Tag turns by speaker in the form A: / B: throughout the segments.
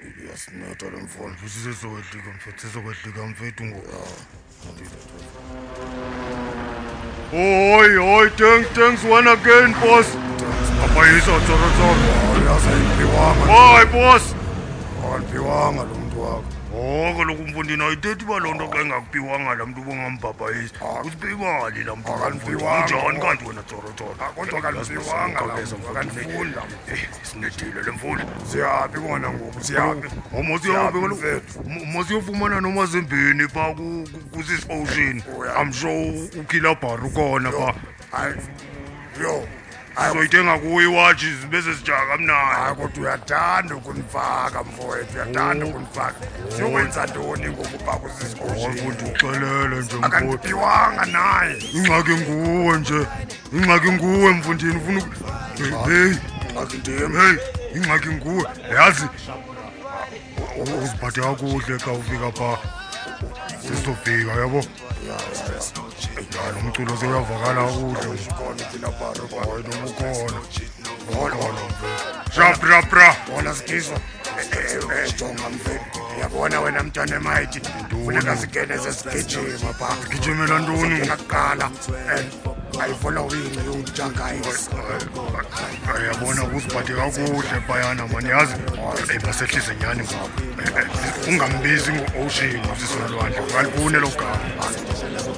A: uyasinetha le mfana
B: futhi sizokwedlika mfethu sizokwedlika mfethu
A: Oi, oi, thanks, thanks one again, boss. Abayisa tsorotsoro.
B: hayi azayiphiwanga
A: Oi, boss.
B: aliphiwanga lo mntu wakho
A: Oh, kaloku mfundini ayithethi uba loo nto xa engakuphiwanga laa mtu ubongambhabhayisi.
B: Ah.
A: Usipe imali laa mntu.
B: Akaliphiwanga.
A: Unjani kanti wena tsorotsoro?
B: Ah, kodwa akaliphiwanga laa mntu, akalifuni laa mntu.
A: Sinedile le mfundo.
B: siyaphi kona ngoku siyaphi
A: oh, Omosiyabe
B: Siyaphi,
A: kaloku.
B: mfethu
A: Omosiyofumana noma zimbini pha ku- ku- kusis ocean. I'm sure ukilabar ukhona pha.
B: hayi yo hayi
A: Soyithenga kuyo iwatshi bese sijaka mnayo.
B: hayi kodwa uyadanda ukunifaka mfowethu uyadanda ukunifaka siyokwenza ntoni ngoku pha
A: hayi
B: kusisiqoshini
A: ndikuxelele nje mfowethu
B: akandiphiwanga naye
A: ingxaki nguwe nje ingxaki nguwe mfundini ufuna uku- heyi
B: akindim
A: heyi ingxaki nguwe yazi u- u- uziphathe kakuhle xa ufika phaa sizofika yabo ya lo mculo seyavakala kakuhle
B: usikona ukinabharo
A: nobukhona
B: ngolona
A: shaprapra
B: bona sikiso jonga mfethu uyabona wena mntwana emayithi funeka sigene sesigijima phaa
A: gijimela ntoni
B: kuqala and ayifolowini yongijangayis
A: Eh, yabona uziphathe kakuhle phayana mani yazi Eh, masehlise nyani ngoku Eh, eh, ungambizi ngo-ocean usisolwandle ngalifune lo gama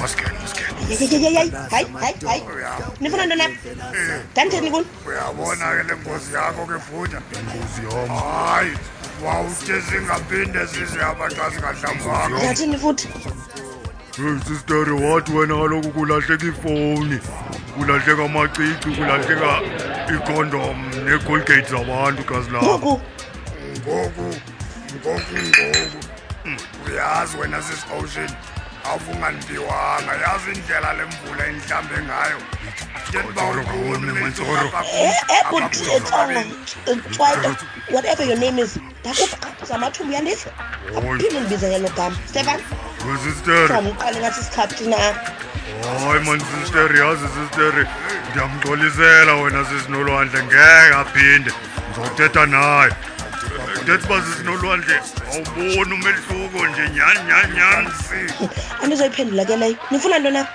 A: masigene masigene
C: yeyeyeyeyeyi hayi hayi hayi nifuna ntona ndanditheni kuni
B: uyabona ke le ngozi yakho ke bhuta
A: inkosi yom
B: hayi wawuthe singaphinde sizihamba xa singahlambanga
C: ndiyathini futhi
A: heyi sistere wathi wena kaloku kulahleka ifowuni kulahleka amacici kulahleka iikondom neegolgate zabantu gazi labo
C: ngoku
B: ngoku ngoku ngoku Mm, uyazi wena sisocean awufungandibiwanga yazi indlela le mvula endihlambe ngayo
A: Tsolo kaone, man, tsolo.
C: ebutetsonga tswaito whatever your name is ndakuphaza amathumbu yandiva aphinde ndibize ngelo gama stefan
A: wesistere
C: ndizawumqala ngathi sikhathi na
A: hayi mani sisteri yazi sisteri ndiyamxolisela wena sisinolwandle ngeke aphinde ndizothetha naye ndethi uba sisinolwandle awuboni umehluko nje nyhani nyhani nyhani
C: andizoyiphendula ke leyo nifuna ntona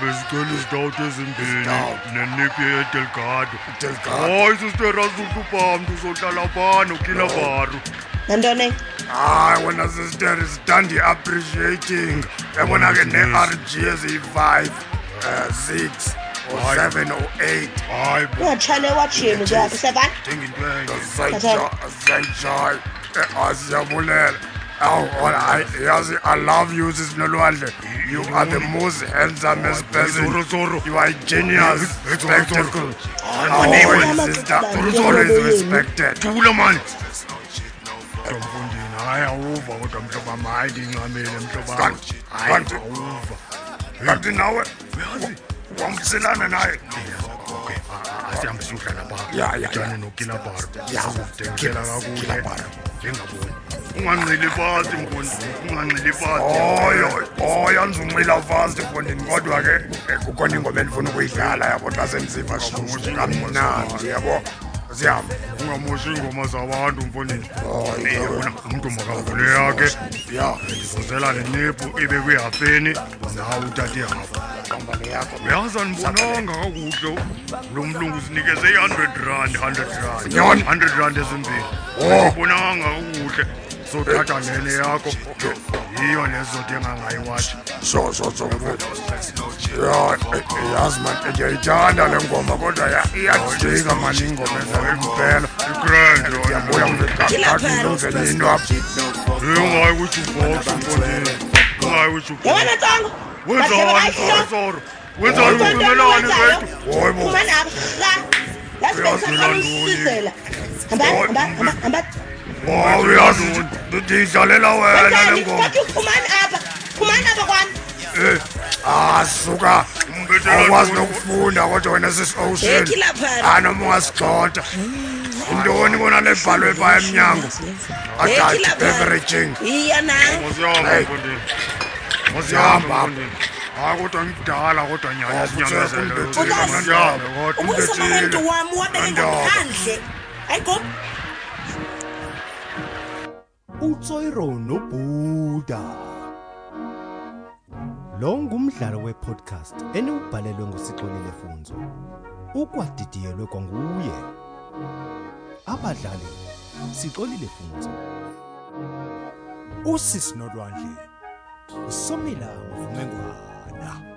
A: besicela izitawuti ezimbini
B: Izitawuti.
A: neniphi edelgado
B: Delgado.
A: hayi sisteri azukuba mntu uzohlala phani ukila baru
C: nantone
B: hayi wena sisteri sitandiappreciating yabona Eh, ke ne-r g eziyi-five um six or seven or eight
A: hayi
C: ungatshale watshini ke stefan
A: ndingento enye
B: zayitshayi siyabulela Eh, awu hayi yazi i love you sisinolwandle you are the most handsomest person
A: zorozoro
B: you are a genius
A: Hey, Zoro,
B: spectacle
C: neighbor.
B: always sister
C: Zoro, Zoro,
B: always
C: yini?
B: respected
A: thula mani mfundini hayi awuva kodwa mhlobam hayi ndiyincamile mhlobam
B: Kanti-
A: hayi
B: kanti-
A: awuva
B: kanti nawe wamselana naye
A: okay a- a- asihambe siyohlala
B: Ya, ya,
A: phaa
B: ya.
A: utyane nokilabharo
B: Ya.
A: azokudengela kakuhle
B: Kilabharo.
A: njengaboni unganxili fasi mfundini unganxili
B: oyo
A: fasi
B: oyanzuncila fast mfondini kodwa ke eh, kukhona ingoma endifuna ukuyidlala yabo xa sendiziva shushu kamnandi yabo zihamba
A: ungamoshi iingoma zabantu mfundini
B: Oh,
A: Eh,
B: yebo.
A: yabona, umntu makavule yakhe
B: ya
A: uzela le nephu ibe kwihafeni nawe utata ihafu
B: hamba leyakho
A: uyazi andibonanga kakuhle lo mlungu sinikeze i-hundred rand hundred rand
B: Nyhani?
A: hundred rand ezimbini
B: Oh.
A: andibonanga kakuhle sothatha lele yakho yiyo lezothenga ngayo iwatshi
B: so so so mfowethu. ya eh, yazi mani ndiyayithanda le ngoma kodwa ya- iyajika mani ingoma ezayo impela
A: igrand
B: ndiyabuya mfeakilungele into apha
A: ungayi kwijubox mfondini ungayi kwijubox
C: yewena tsongo
A: wenzani soro wenzani uvumelani bethu
B: Woyi bo.
C: yazibeaamsizela
B: Woyi.
A: Oh,
B: uyazi
A: uyazi.
B: ndiyidlalela wena le ngoma
C: phumani apha phumani apha kwam
B: Eh, ah suka
A: Umbethela
B: awukwazi
A: ntoni?
B: nokufunda kodwa wena sisocean
C: Yeki laphana.
B: anoma ungasigxotha yintoni kona lebhalwe pha emnyango
C: Yeki
B: adult
C: laphana.
B: beveraging
C: iya na
A: mosiyahamba
B: Hey.
A: mfondini
B: Siyahamba.
A: mosiyahamba mfondini hayi kodwa ngidala kodwa nyhani
B: Oh,
A: sinyamezele
B: kutheka,
C: kutheka.
A: sihambe kodwa
C: ubuyisomamntu wam uwabeke
B: Nandaba.
C: ngaphandle ayigo
B: soiro nobhuda lo ngumdlalo wepodcast eniwubhalelwe ngusixolile funzo ukwadidiyelwe kwanguye abadlali sixolile funzo
D: usisi nolwandle usomila mavumengwana